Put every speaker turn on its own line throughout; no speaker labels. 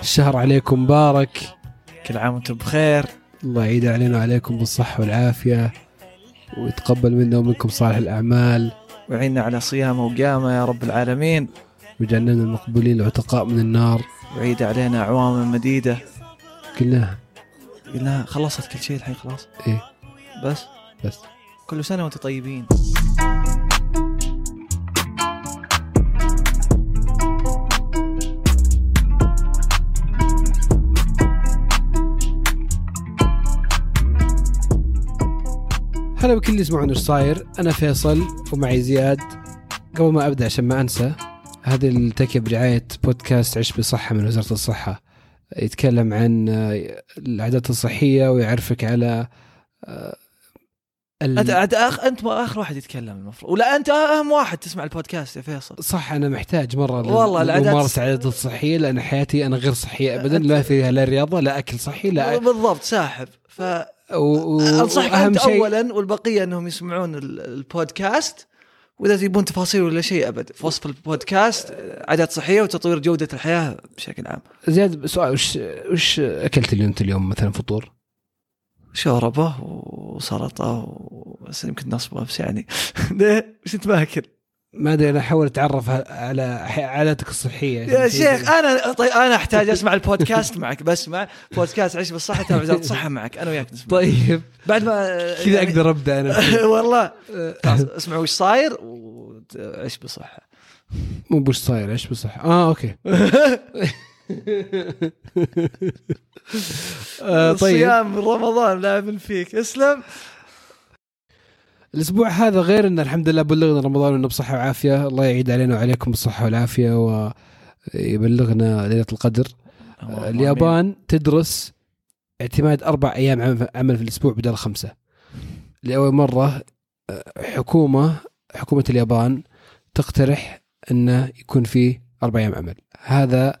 الشهر عليكم مبارك
كل عام وانتم بخير
الله يعيد علينا وعليكم بالصحة والعافية ويتقبل منا ومنكم صالح الأعمال
وعيننا على صيامه وقيامه يا رب العالمين
وجعلنا من المقبولين العتقاء من النار
وعيد علينا أعوام مديدة
قلناها
قلنا خلصت كل شيء الحين خلاص
إيه
بس
بس
كل سنة وانتم طيبين
هلا بكل اللي يسمعون ايش صاير انا فيصل ومعي زياد قبل ما ابدا عشان ما انسى هذا التكي برعايه بودكاست عش بصحه من وزاره الصحه يتكلم عن آه، العادات الصحيه ويعرفك على آه، ال-
انت أنت أخ... انت ما اخر واحد يتكلم المفروض ولا انت اهم واحد تسمع البودكاست يا فيصل
صح انا محتاج مره لل-
والله العادات-
لممارسه العادات الصحيه لان حياتي انا غير صحيه ابدا لا فيها لا رياضه لا اكل صحي لا
بالضبط ساحب ف
و... و...
انصحك
واهم
انت
شيء
اولا والبقيه انهم يسمعون ال- البودكاست واذا تبون تفاصيل ولا شيء ابد في وصف البودكاست آه، عادات صحيه وتطوير جوده الحياه بشكل عام
زياد سؤال وش وش اكلت اليوم انت اليوم مثلا فطور؟
شوربه وسلطه و... بس يمكن نصبه بس يعني ليه؟ وش انت ماكل؟
ما ادري انا احاول اتعرف على ح- يعني عاداتك الصحيه
يا شيخ انا طيب انا احتاج اسمع البودكاست معك بسمع بودكاست عيش بالصحه تبع وزاره الصحه معك انا وياك نسمع
طيب
بعد ما
كذا أه. اقدر ابدا انا
والله خلاص، اسمعوا وش صاير وعيش بصحه
مو بوش صاير ايش بصح اه اوكي آه طيب
الصيام من رمضان لاعب فيك اسلم
الاسبوع هذا غير ان الحمد لله بلغنا رمضان وانه بصحه وعافيه الله يعيد علينا وعليكم بالصحه والعافيه ويبلغنا ليله القدر آه، اليابان تدرس اعتماد اربع ايام عم- عمل في الاسبوع بدل خمسه. لاول مره آه، حكومه حكومه اليابان تقترح انه يكون فيه اربع ايام عمل. هذا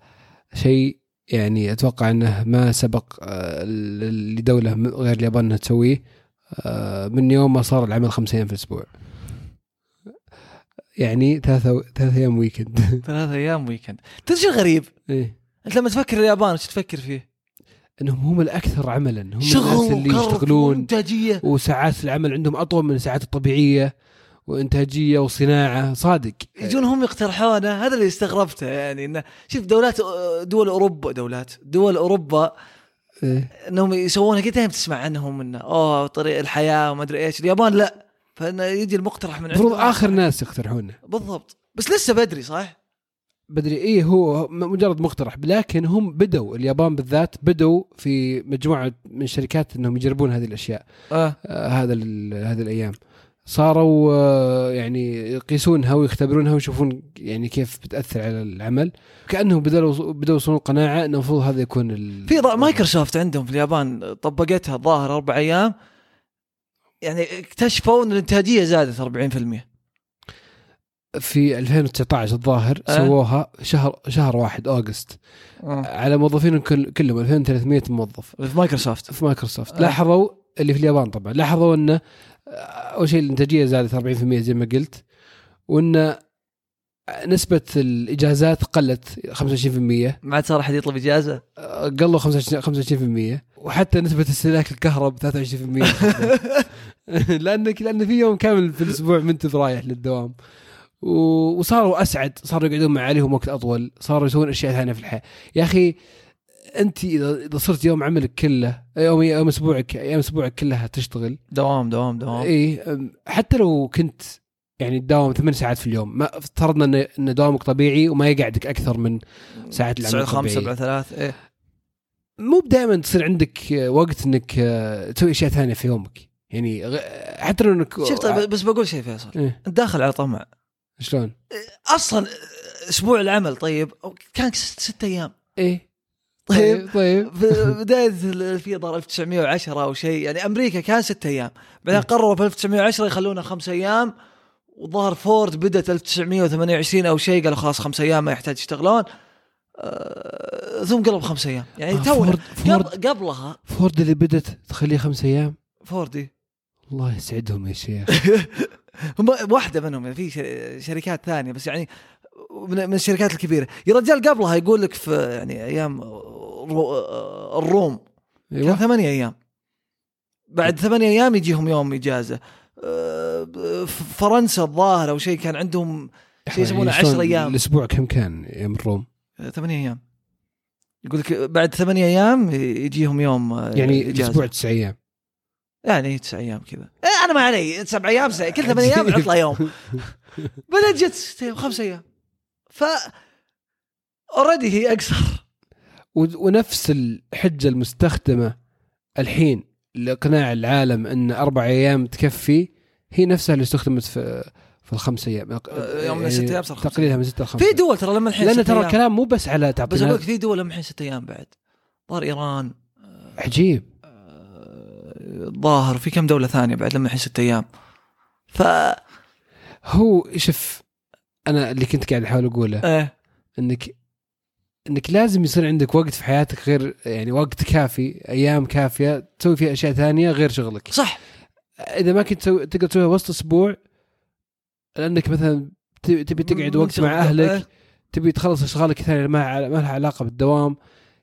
شيء يعني اتوقع انه ما سبق آه، ل- لدوله م- غير اليابان انها تسويه آه، من يوم ما صار العمل خمس ايام في الاسبوع. يعني ثلاثة ثلاثة ايام ويكند.
ثلاث ايام ويكند تدري شو الغريب؟
إيه.
انت لما تفكر اليابان وش تفكر فيه؟
انهم هم الاكثر عملا، هم الناس
شغل
اللي
وكرف
يشتغلون
وانتاجيه
وساعات العمل عندهم اطول من الساعات الطبيعيه وانتاجيه وصناعه صادق
يجون هم يقترحونه هذا اللي استغربته يعني انه شوف دولات آه، دول اوروبا دولات دول اوروبا
إيه.
انهم يسوونها كذا دائما تسمع عنهم انه اوه طريق الحياه وما ادري ايش اليابان لا فانه يجي المقترح من
المفروض
عندهم.
اخر ناس يقترحونه
بالضبط بس لسه بدري صح؟
بدري ايه هو م- مجرد مقترح لكن هم بدوا اليابان بالذات بدوا في مجموعه من الشركات انهم يجربون هذه الاشياء
اه
آه هذا ال- هذه الايام صاروا آه يعني يقيسونها ويختبرونها ويشوفون يعني كيف بتاثر على العمل كانهم بدأوا بدأوا يوصلون قناعه انه المفروض هذا يكون ال-
في ض- مايكروسوفت عندهم في اليابان طبقتها الظاهر اربع ايام يعني اكتشفوا ان الانتاجيه زادت 40%
في 2019 الظاهر
أه.
سووها شهر شهر واحد اوغست
آه.
على موظفين كل كلهم 2300 موظف
في مايكروسوفت
في مايكروسوفت
أه.
لاحظوا اللي في اليابان طبعا لاحظوا انه آه، اول شيء الانتاجيه زادت 40% زي ما قلت وان نسبة الاجازات قلت 25%
ما عاد صار احد يطلب اجازه
آه، قلوا 25% 25% وحتى نسبة استهلاك الكهرب 23% لانك لان في يوم كامل في الاسبوع ما انت برايح للدوام و- وصاروا اسعد صاروا يقعدون مع اهلهم وقت اطول صاروا يسوون اشياء ثانيه في الحياه يا اخي انت اذا اذا صرت يوم عملك كله يوم يوم اسبوعك ايام اسبوعك كلها تشتغل
دوام دوام دوام
اي أم، حتى لو كنت يعني تداوم ثمان ساعات في اليوم ما افترضنا ان ان دوامك طبيعي وما يقعدك اكثر من ساعات العمل
9 5
الطبيعية.
7 3 ايه
مو بدائما تصير عندك آه، وقت انك آه، تسوي اشياء ثانيه في يومك يعني غ- حتى لو انك
شوف طيب بس بقول شيء فيصل
إيه.
انت داخل على طمع
شلون؟
اصلا اسبوع العمل طيب كان ست, ست ايام
ايه
طيب
طيب
في بدايه في ضرب 1910 او شيء يعني امريكا كان ست ايام بعدين قرروا في 1910 يخلونها خمس ايام وظهر فورد بدات 1928 او شيء قالوا خلاص خمس ايام ما يحتاج يشتغلون آه، ثم قلب خمس ايام يعني
آه،
تو
فورد فورد
قبلها
فورد اللي بدت تخليه خمس ايام
فوردي
الله يسعدهم يا شيخ
هم واحده منهم يعني في ش- شركات ثانيه بس يعني من من الشركات الكبيره يا رجال قبلها يقول لك في يعني ايام الرو- آه، الروم كان
ايوه
ثمانية أيام بعد ثمانية أيام يجيهم يوم إجازة آه، ب- ف- فرنسا الظاهر أو شيء كان عندهم شيء يسمونه
يعني شلون
10 أيام
الاسبوع كم كان يوم الروم؟
آه، ثمانية أيام يقول لك بعد ثمانية أيام يجيهم يوم آه،
يعني
إجازة.
الاسبوع تسع ايام
يعني تسع ايام كذا إيه انا ما علي سبع ايام سا... كل ثمان ايام عطله يوم بدات جت ست ايام خمس ايام ف اوريدي هي اقصر
و- ونفس الحجه المستخدمه الحين لاقناع العالم ان اربع ايام تكفي هي نفسها اللي استخدمت في في الخمس ايام
يوم من ست أيام صار خمسة.
تقليلها من ستة لخمسة
في دول ترى لما الحين
لان
ست
ترى
أيام.
الكلام مو بس على
بس اقول
تعطينا
لك في دول لما الحين ست ايام بعد ظهر ايران
عجيب
آه، ظاهر في كم دوله ثانيه بعد لما الحين ست ايام ف
هو شوف انا اللي كنت قاعد احاول اقوله
إيه.
انك انك لازم يصير عندك وقت في حياتك غير يعني وقت كافي ايام كافيه تسوي فيها اشياء ثانيه غير شغلك
صح
اذا ما كنت تسوي تقدر تسويها وسط اسبوع لانك مثلا ت- تبي تقعد وقت مع اهلك تبي تخلص اشغالك الثانيه اللي ما ع- ما لها علاقه بالدوام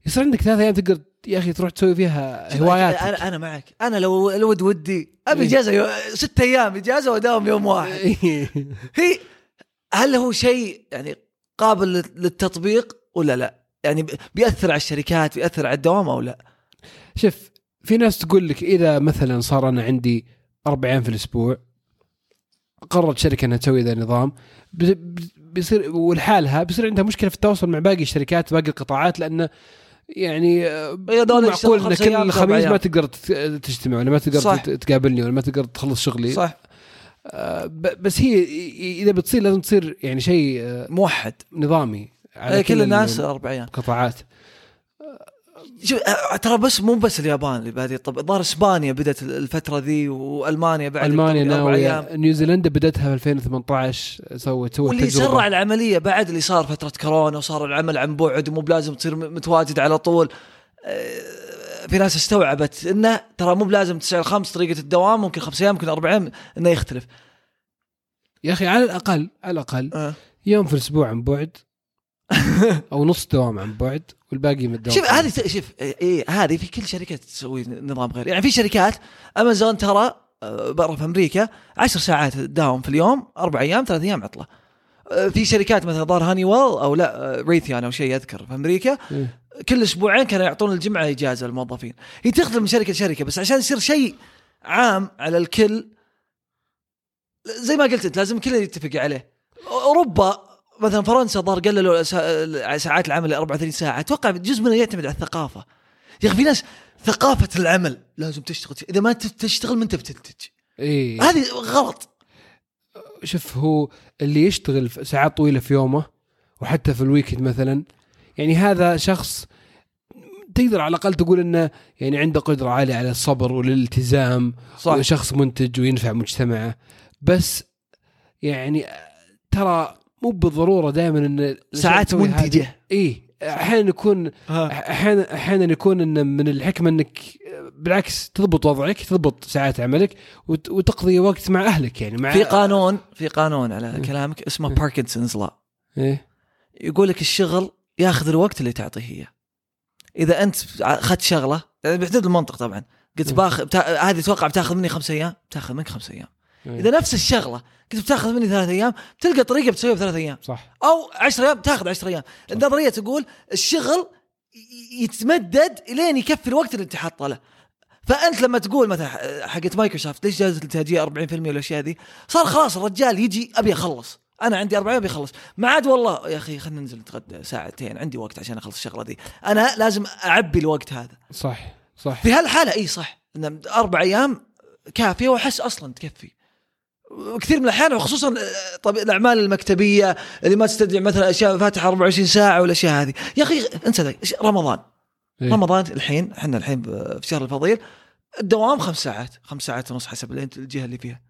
يصير عندك ثلاث ايام تقدر يا اخي تروح تسوي فيها هواياتك
انا انا معك انا لو الود ودي ابي
إيه.
اجازه يو- ست ايام اجازه واداوم يوم واحد هي هل هو شيء يعني قابل لل- للتطبيق ولا لا؟ يعني ب- بيأثر على الشركات بيأثر على الدوام او لا؟
شوف في ناس تقول لك اذا مثلا صار انا عندي اربع ايام في الاسبوع قررت شركه انها تسوي ذا النظام بز- بز- بيصير ولحالها بيصير عندها مشكله في التواصل مع باقي الشركات باقي القطاعات لانه يعني آه،
يا دولة يشتغل
معقول ان
خمس
كل
أيام، أربع
الخميس
أيام.
ما تقدر تت- تجتمع ولا ما تقدر
صح.
تت- تقابلني ولا ما تقدر تخلص شغلي
صح
آه، ب- بس هي إي- اذا بتصير لازم تصير يعني شيء آه،
موحد
نظامي
على إيه، كل
ال-
الناس اربع ايام
القطاعات
شوف آه، ترى بس مو بس اليابان اللي بهذه الطب الظاهر اسبانيا بدات ال- الفتره ذي والمانيا بعد
المانيا
الطبيعة اربع ايام
ناويه نيوزيلندا بدتها في 2018 سوت سوت
واللي
تجربة.
سرع العمليه بعد اللي صار فتره كورونا وصار العمل عن بعد ومو بلازم تصير م- متواجد على طول آه، في ناس استوعبت انه ترى مو بلازم 9 ل 5 طريقه الدوام ممكن 5 ايام ممكن 4 ايام انه يختلف
يا اخي على الاقل على الاقل
آه.
يوم في الاسبوع عن بعد او نص دوام عن بعد والباقي من الدوام
شوف هذه ت- شوف اي هذه في كل شركه تسوي نظام غير يعني في شركات امازون ترى آه، برا في امريكا 10 ساعات تداوم في اليوم اربع ايام ثلاث ايام عطله آه، في شركات مثلا ظهر هانيويل او لا آه، ريثيون او شيء اذكر في امريكا
إيه.
كل اسبوعين كانوا يعطون الجمعه اجازه للموظفين هي تختلف من شركه لشركه بس عشان يصير شيء عام على الكل زي ما قلت انت لازم الكل يتفق عليه اوروبا مثلا فرنسا ظهر قللوا الأسا- ساعات العمل ل 34 ساعه اتوقع جزء منه يعتمد على الثقافه يا اخي في ناس ثقافه العمل لازم تشتغل اذا ما تف- تشتغل ما انت بتنتج
إيه.
هذه غلط
شوف هو اللي يشتغل في ساعات طويله في يومه وحتى في الويكند مثلا يعني هذا شخص تقدر على الاقل تقول انه يعني عنده قدره عاليه على الصبر والالتزام
صح
وشخص منتج وينفع مجتمعه بس يعني ترى مو بالضروره دائما ان
ساعات منتجه
اي احيانا إيه، يكون
ها.
احيانا احيانا يكون ان من الحكمه انك بالعكس تضبط وضعك تضبط ساعات عملك وت- وتقضي وقت مع اهلك يعني مع
في قانون في قانون على كلامك اسمه باركنسونز لا
إيه؟
يقول لك الشغل ياخذ الوقت اللي تعطيه اياه اذا انت اخذت شغله يعني بحدود المنطق طبعا قلت
مم.
باخذ بتا... هذه اتوقع بتاخذ مني خمس ايام بتاخذ منك خمس ايام
إيه.
اذا نفس الشغله قلت بتاخذ مني ثلاث ايام بتلقى طريقه بتسويها بثلاث ايام
صح
او 10 ايام بتاخذ 10 ايام النظريه تقول الشغل ي- يتمدد الين يكفي الوقت اللي انت حاطه له فانت لما تقول مثلا ح- حقت مايكروسوفت ليش جائزه الانتاجيه 40% والاشياء ذي صار خلاص الرجال يجي ابي اخلص انا عندي 40 ابي اخلص ما عاد والله يا اخي خلينا ننزل نتغدى ساعتين عندي وقت عشان اخلص الشغله ذي انا لازم اعبي الوقت هذا
صح صح
في هالحاله اي صح ان اربع ايام كافيه واحس اصلا تكفي كثير من الاحيان وخصوصا آه، طب الاعمال المكتبيه اللي ما تستدعي مثلا اشياء فاتحه 24 ساعه والاشياء هذه يا اخي انسى ذا إيش- رمضان
إيه.
رمضان الحين احنا الحين ب- في شهر الفضيل الدوام خمس ساعات خمس ساعات ونص حسب الأنت- الجهه اللي فيها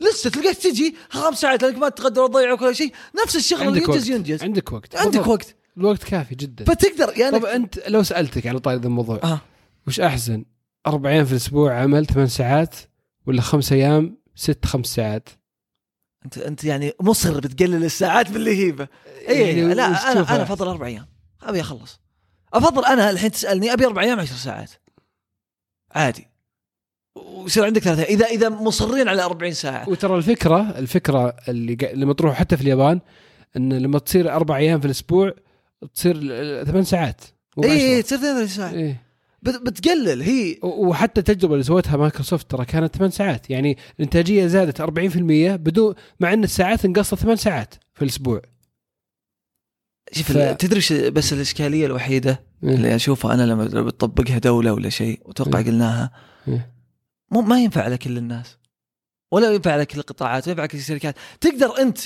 لسه تلقاك تجي خمس ساعات لانك ما تتغدى وتضيع وكل شيء نفس الشغل اللي
عندك وقت
ينجز ينجز
عندك وقت
عندك
بالضبط.
وقت
الوقت كافي جدا
فتقدر يعني
طب انت لو سالتك على طاري ذا الموضوع
آه.
وش احسن 40 في الاسبوع عمل 8 ساعات ولا 5 ايام 6 5 ساعات
انت انت يعني مصر بتقلل الساعات باللهيبه اي
يعني
إيه، لا
وش
انا
تشوفها؟
انا افضل اربع ايام ابي اخلص افضل انا الحين تسالني ابي اربع ايام عشر ساعات عادي ويصير عندك ثلاثة اذا اذا مصرين على 40 ساعه
وترى الفكره الفكره اللي قا- لما تروح حتى في اليابان ان لما تصير اربع ايام في الاسبوع تصير ل- ل- ثمان ساعات مو
اي
بعشرة.
تصير 32 ساعه
إيه.
بت- بتقلل هي
و- وحتى التجربه اللي سوتها مايكروسوفت ترى كانت ثمان ساعات يعني الانتاجيه زادت 40% بدون مع ان الساعات انقصت ثمان ساعات في الاسبوع
شوف
ف-
ال- تدري ش- بس الاشكاليه الوحيده اللي اشوفها انا لما لو بتطبقها دوله ولا شيء واتوقع
إيه.
قلناها
إيه.
مو ما ينفع على كل الناس ولا ينفع على كل القطاعات ولا ينفع على كل الشركات تقدر انت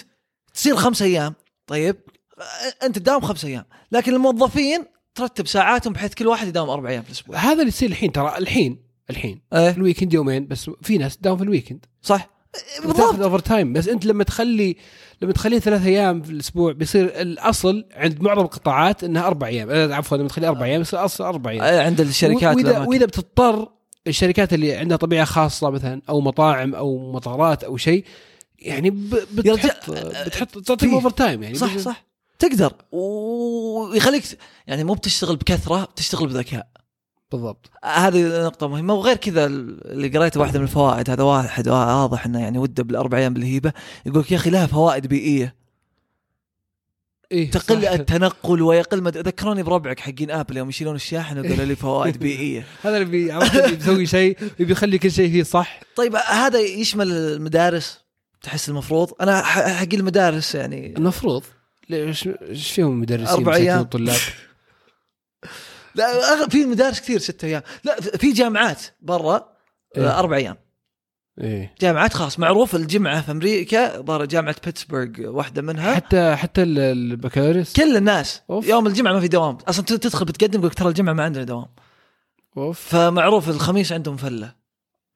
تصير خمس ايام طيب أ- انت تداوم خمس ايام لكن الموظفين ترتب ساعاتهم بحيث كل واحد يداوم اربع ايام في الاسبوع
هذا اللي يصير الحين ترى الحين الحين
ايه
الويكند يومين بس في ناس تداوم في الويكند
صح
وتاخذ
بالضبط
اوفر تايم بس انت لما تخلي لما تخليه ثلاث ايام في الاسبوع بيصير الاصل عند معظم القطاعات انها اربع ايام آه، عفوا لما تخليه اربع ايام يصير الاصل اربع ايام
آه، عند الشركات
واذا
والأماكن.
واذا بتضطر الشركات اللي عندها طبيعه خاصه مثلا او مطاعم او مطارات او شيء يعني ب- بتحط
يرجع-
بتحط تعطيهم
فيه.
اوفر تايم يعني
صح
بس-
صح تقدر ويخليك يعني مو بتشتغل بكثره بتشتغل بذكاء
بالضبط
هذه نقطة مهمة وغير كذا اللي قريته واحدة من الفوائد هذا واحد واضح انه يعني وده بالاربع ايام بالهيبة يقول يا اخي لها فوائد بيئية
إيه
تقل
صح.
التنقل ويقل مد... ذكروني بربعك حقين ابل يوم يشيلون الشاحنة وقالوا لي فوائد بيئية
هذا اللي بي- عرفت اللي بيسوي شيء بيخلي كل شيء فيه صح
طيب هذا يشمل المدارس تحس المفروض انا ح- حق المدارس يعني
المفروض ليش ايش فيهم مدرسين
أربع
مساكين
أيام.
وطلاب
لا أغ- في مدارس كثير ستة ايام لا في جامعات برا
إيه.
اربع ايام
ايه
جامعات خاص معروف الجمعة في امريكا ظهر جامعة بيتسبرغ واحدة منها
حتى حتى ال- البكالوريوس
كل الناس
أوف.
أوف. يوم الجمعه ما في دوام اصلا ت- تدخل بتقدم يقول ترى الجمعه ما عندنا دوام
اوف
فمعروف الخميس عندهم فله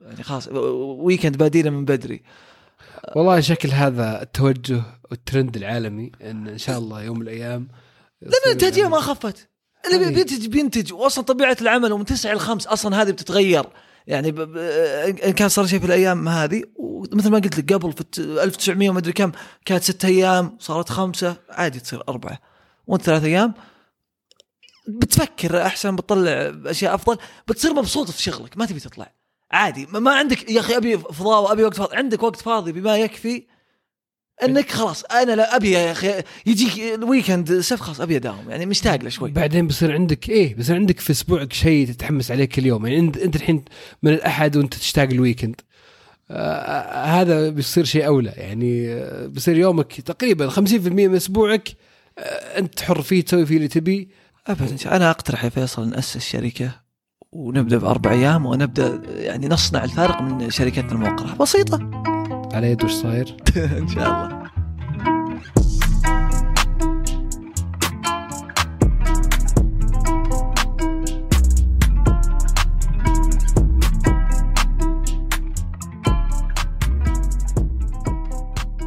يعني خلاص و- و- ويكند بادينا من بدري
والله شكل هذا التوجه والترند العالمي ان ان شاء الله يوم يعني من الايام
لان الانتاجيه ما خفت اللي بي-
هذه-
بينتج بينتج واصلا طبيعه العمل ومن 9 ل 5 اصلا هذه بتتغير يعني ب... ب... ان كان صار شيء في الايام هذه ومثل ما قلت لك قبل في الت- 1900 وما ادري كم كانت ست ايام صارت خمسه عادي تصير اربعه وانت ثلاث ايام بتفكر احسن بتطلع اشياء افضل بتصير مبسوط في شغلك ما تبي تطلع عادي ما- ما عندك يا اخي ابي فضاء وابي وقت فاضي عندك وقت فاضي بما يكفي انك خلاص انا لا ابي يا اخي يجيك الويكند سف خلاص ابي اداوم يعني مشتاق له شوي
بعدين بصير عندك ايه بصير عندك في اسبوعك شيء تتحمس عليه كل يوم يعني انت انت الحين من الاحد وانت تشتاق الويكند آه هذا بيصير شيء اولى يعني آه، بيصير يومك تقريبا 50% من اسبوعك آه انت حر فيه تسوي فيه اللي تبيه
ابدا شا- انا اقترح يا فيصل ناسس شركه ونبدا باربع ايام ونبدا يعني نصنع الفارق من شركتنا الموقره بسيطه
على يد وش صاير
ان شاء الله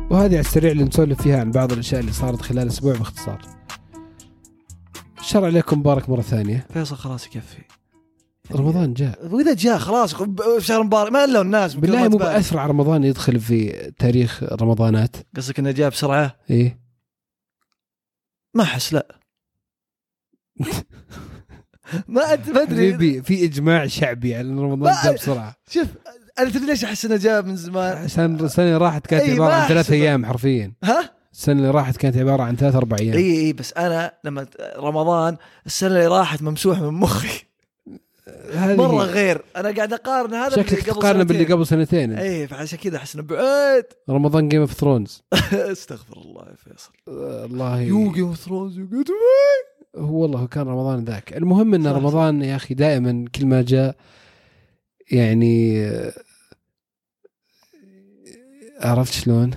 وهذه على السريع اللي نسولف فيها عن بعض الاشياء اللي صارت خلال اسبوع باختصار الشر عليكم مبارك مره ثانيه
فيصل خلاص يكفي
رمضان جاء
واذا جاء خلاص ب- في شهر مبارك ما الا الناس بدون
بالله
ما
مو
تبالي.
باسرع رمضان يدخل في تاريخ رمضانات
قصدك انه جاء بسرعه
ايه
ما احس لا ما أد- ما ادري
حبيبي في اجماع شعبي على ان رمضان
ما-
جاء بسرعه
شوف انا تدري ليش احس انه جاء من زمان
عشان السنه اللي راحت كانت
أي،
عباره
ما
عن ثلاث
أحسبه.
ايام حرفيا
ها
السنه اللي راحت كانت عباره عن ثلاث اربع ايام
اي اي إيه، بس انا لما ت- رمضان السنه اللي راحت ممسوح من مخي
هذه
مره
هي.
غير انا قاعد اقارن هذا
شكلك تقارن باللي قبل سنتين
اي إيه، فعشان كذا احس انه بعيد
رمضان جيم اوف ثرونز
استغفر الله يا فيصل
الله
يوغي وثروز يوغي-
هو والله هو كان رمضان ذاك المهم ان
صح، صح.
رمضان يا اخي دائما كل ما جاء يعني آه، عرفت شلون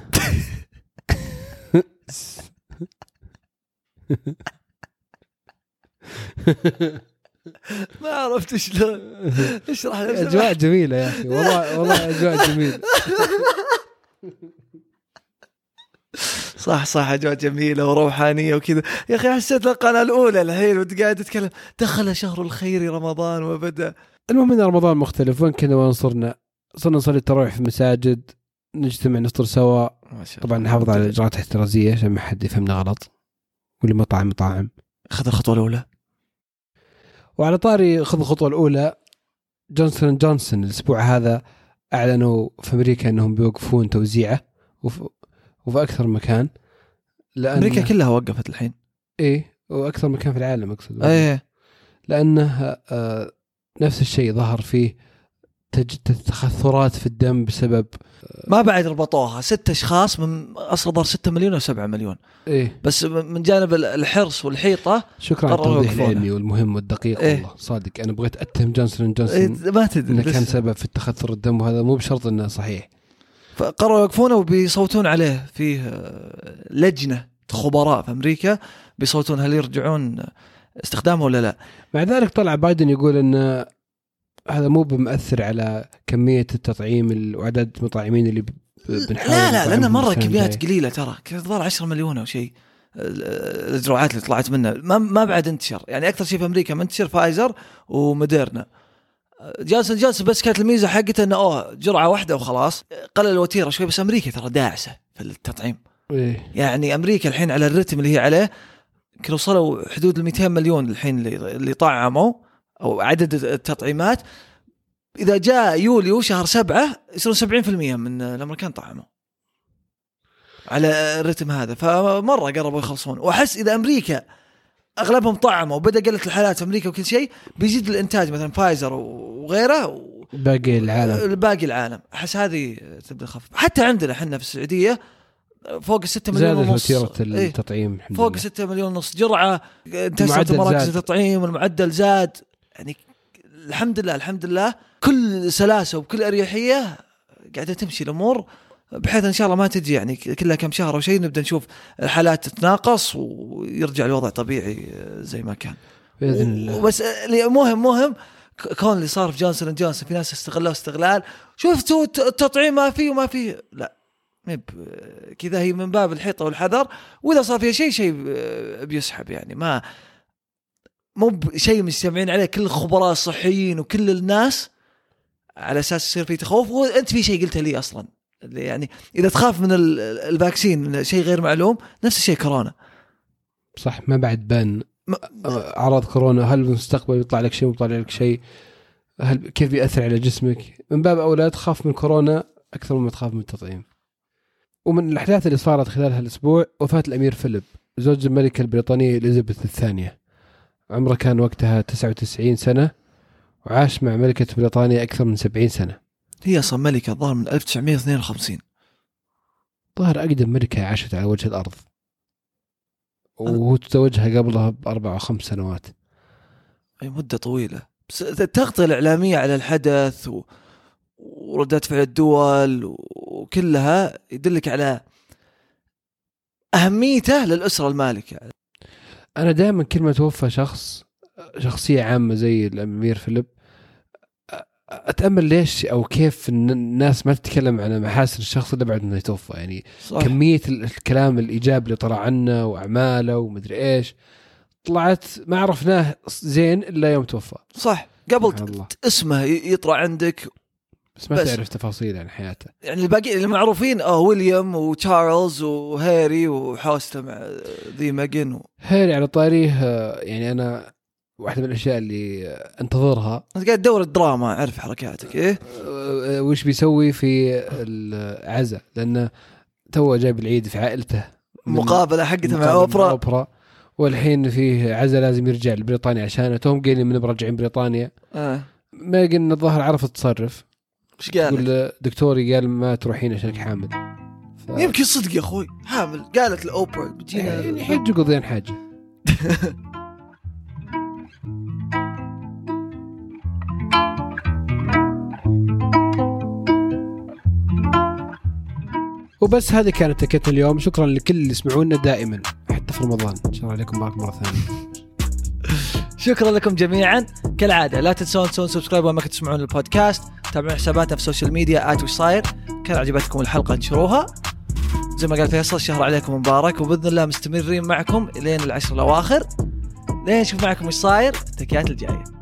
ما عرفت شلون اشرح لي
اجواء جميله يا اخي والله والله اجواء جميله
صح صح اجواء جميله وروحانيه وكذا يا اخي حسيت القناه الاولى الحين وانت قاعد تتكلم دخل شهر الخير رمضان وبدا
المهم ان رمضان مختلف وين كنا وين صرنا؟ صرنا نصلي التراويح في المساجد نجتمع نفطر سوا
ما شاء
طبعا نحافظ على الاجراءات الاحترازيه عشان ما حد يفهمنا غلط واللي مطعم مطاعم
اخذ الخطوه الاولى
وعلى طاري خذ الخطوه الاولى جونسون جونسون الاسبوع هذا اعلنوا في امريكا انهم بيوقفون توزيعه وف- وفي اكثر من مكان لأن
امريكا كلها وقفت الحين
ايه واكثر مكان في العالم اقصد
ايه
لانه آه، نفس الشيء ظهر فيه تج- تخثرات في الدم بسبب
ما بعد ربطوها ست اشخاص من اصلا ظهر 6 مليون او 7 مليون
ايه
بس من جانب الحرص والحيطه
شكرا على
قرروا
التوضيح
يوقفونه.
العلمي والمهم والدقيق
إيه.
والله صادق انا بغيت اتهم جونسون أند
إيه،
جونسون
ما تدري
انه كان
لسه.
سبب في التخثر الدم وهذا مو بشرط انه صحيح
فقرروا يوقفونه وبيصوتون عليه فيه آه، لجنه خبراء في امريكا بيصوتون هل يرجعون استخدامه ولا لا
مع ذلك طلع بايدن يقول ان هذا مو بمأثر على كميه التطعيم ال- وعدد المطعمين اللي ب- بنحاول
لا لا لانه
نطعمهم
مره
السنة
كميات
الجاية.
قليله ترى كان ظهر 10 مليون او شيء ال- الجرعات اللي طلعت منه ما ما بعد انتشر يعني اكثر شيء في امريكا منتشر فايزر وموديرنا جانسون جانسون بس كانت الميزه حقته انه اوه جرعه واحده وخلاص قلل الوتيره شوي بس امريكا ترى داعسه في التطعيم
إيه.
يعني امريكا الحين على الرتم اللي هي عليه يمكن وصلوا حدود ال 200 مليون الحين اللي اللي طعموا او عدد التطعيمات اذا جاء يوليو شهر سبعه يصيرون 70% من الامريكان طعموا على الرتم هذا فمره قربوا يخلصون واحس اذا امريكا اغلبهم طعموا وبدا قله الحالات في امريكا وكل شيء بيزيد الانتاج مثلا فايزر وغيره و...
باقي العالم
باقي آه، العالم احس هذه تبدا خف حتى عندنا احنا في السعوديه فوق 6 مليون
زادت
ونص
وتيره
إيه؟
التطعيم الحمد
فوق
لله.
6 مليون ونص جرعه انتشرت
المعدل
مراكز
زاد.
التطعيم والمعدل زاد يعني الحمد لله الحمد لله كل سلاسه وبكل اريحيه قاعده تمشي الامور بحيث ان شاء الله ما تجي يعني كلها كم شهر او شيء نبدا نشوف الحالات تتناقص ويرجع الوضع طبيعي زي ما كان
باذن الله
بس اللي مهم مهم ك- كون اللي صار في جونسون اند جونسون في ناس استغلوه استغلال شفتوا الت- التطعيم ما فيه وما فيه لا مب كذا هي من باب الحيطه والحذر واذا صار فيها شيء شيء ب- بيسحب يعني ما مو بشيء مجتمعين عليه كل الخبراء الصحيين وكل الناس على اساس يصير في تخوف وانت في شيء قلته لي اصلا اللي يعني اذا تخاف من ال- الفاكسين شيء غير معلوم نفس الشيء كورونا
صح ما بعد بان
ما-
اعراض كورونا هل بالمستقبل يطلع لك شيء ويطلع لك شيء هل كيف بياثر على جسمك من باب اولى تخاف من كورونا اكثر مما تخاف من التطعيم ومن الاحداث اللي صارت خلال هالاسبوع وفاه الامير فيليب زوج الملكه البريطانيه اليزابيث الثانيه عمره كان وقتها 99 سنه وعاش مع ملكه بريطانيا اكثر من 70 سنه
هي اصلا ملكه الظاهر من 1952
ظهر اقدم ملكه عاشت على وجه الارض وتزوجها قبلها باربع او خمس سنوات
اي مده طويله بس التغطيه الاعلاميه على الحدث و... وردات فعل الدول و- وكلها يدلك على اهميته للاسره المالكه
انا دائما كل ما توفى شخص شخصيه عامه زي الامير فيليب أ- اتامل ليش او كيف إن الناس ما تتكلم عن محاسن الشخص اللي بعد ما يتوفى يعني
صح
كميه ال- الكلام الايجابي اللي طلع عنه واعماله ومدري ايش طلعت ما عرفناه زين الا يوم توفى
صح قبل
سبحان الله.
ت- اسمه ي- يطلع عندك
بس ما
بس.
تعرف تفاصيل عن حياته
يعني الباقي المعروفين اه ويليام وتشارلز وهاري وحوسته مع ذي ماجن و...
هاري على طاريه آه، يعني انا واحده من الاشياء اللي آه، انتظرها
انت قاعد تدور الدراما اعرف حركاتك ايه
آه، وش بيسوي في العزاء لانه تو جايب العيد في عائلته من-
مقابله حقته مع
مقابل
اوبرا
اوبرا والحين فيه عزاء لازم يرجع لبريطانيا عشانه توم قايلين من راجعين بريطانيا
آه.
ميغن الظاهر عرف تصرف
ايش قال؟
تقول له، دكتوري قال ما تروحين عشانك حامل ف...
يمكن صدق يا اخوي حامل قالت الاوبرا
يعني
بتجينا
حج قضيان حاجه وبس هذه كانت تكت اليوم شكرا لكل اللي يسمعونا دائما حتى في رمضان ان شاء الله عليكم بارك مره ثانيه
شكرا لكم جميعا كالعاده لا تنسون تسوون سبسكرايب وين ما كنتوا تسمعون البودكاست تابعون حساباتنا في السوشيال ميديا ات وش صاير كان عجبتكم الحلقه انشروها زي ما قال فيصل شهر عليكم مبارك وباذن الله مستمرين معكم الين العشر الاواخر لين نشوف معكم وش صاير التكيات الجايه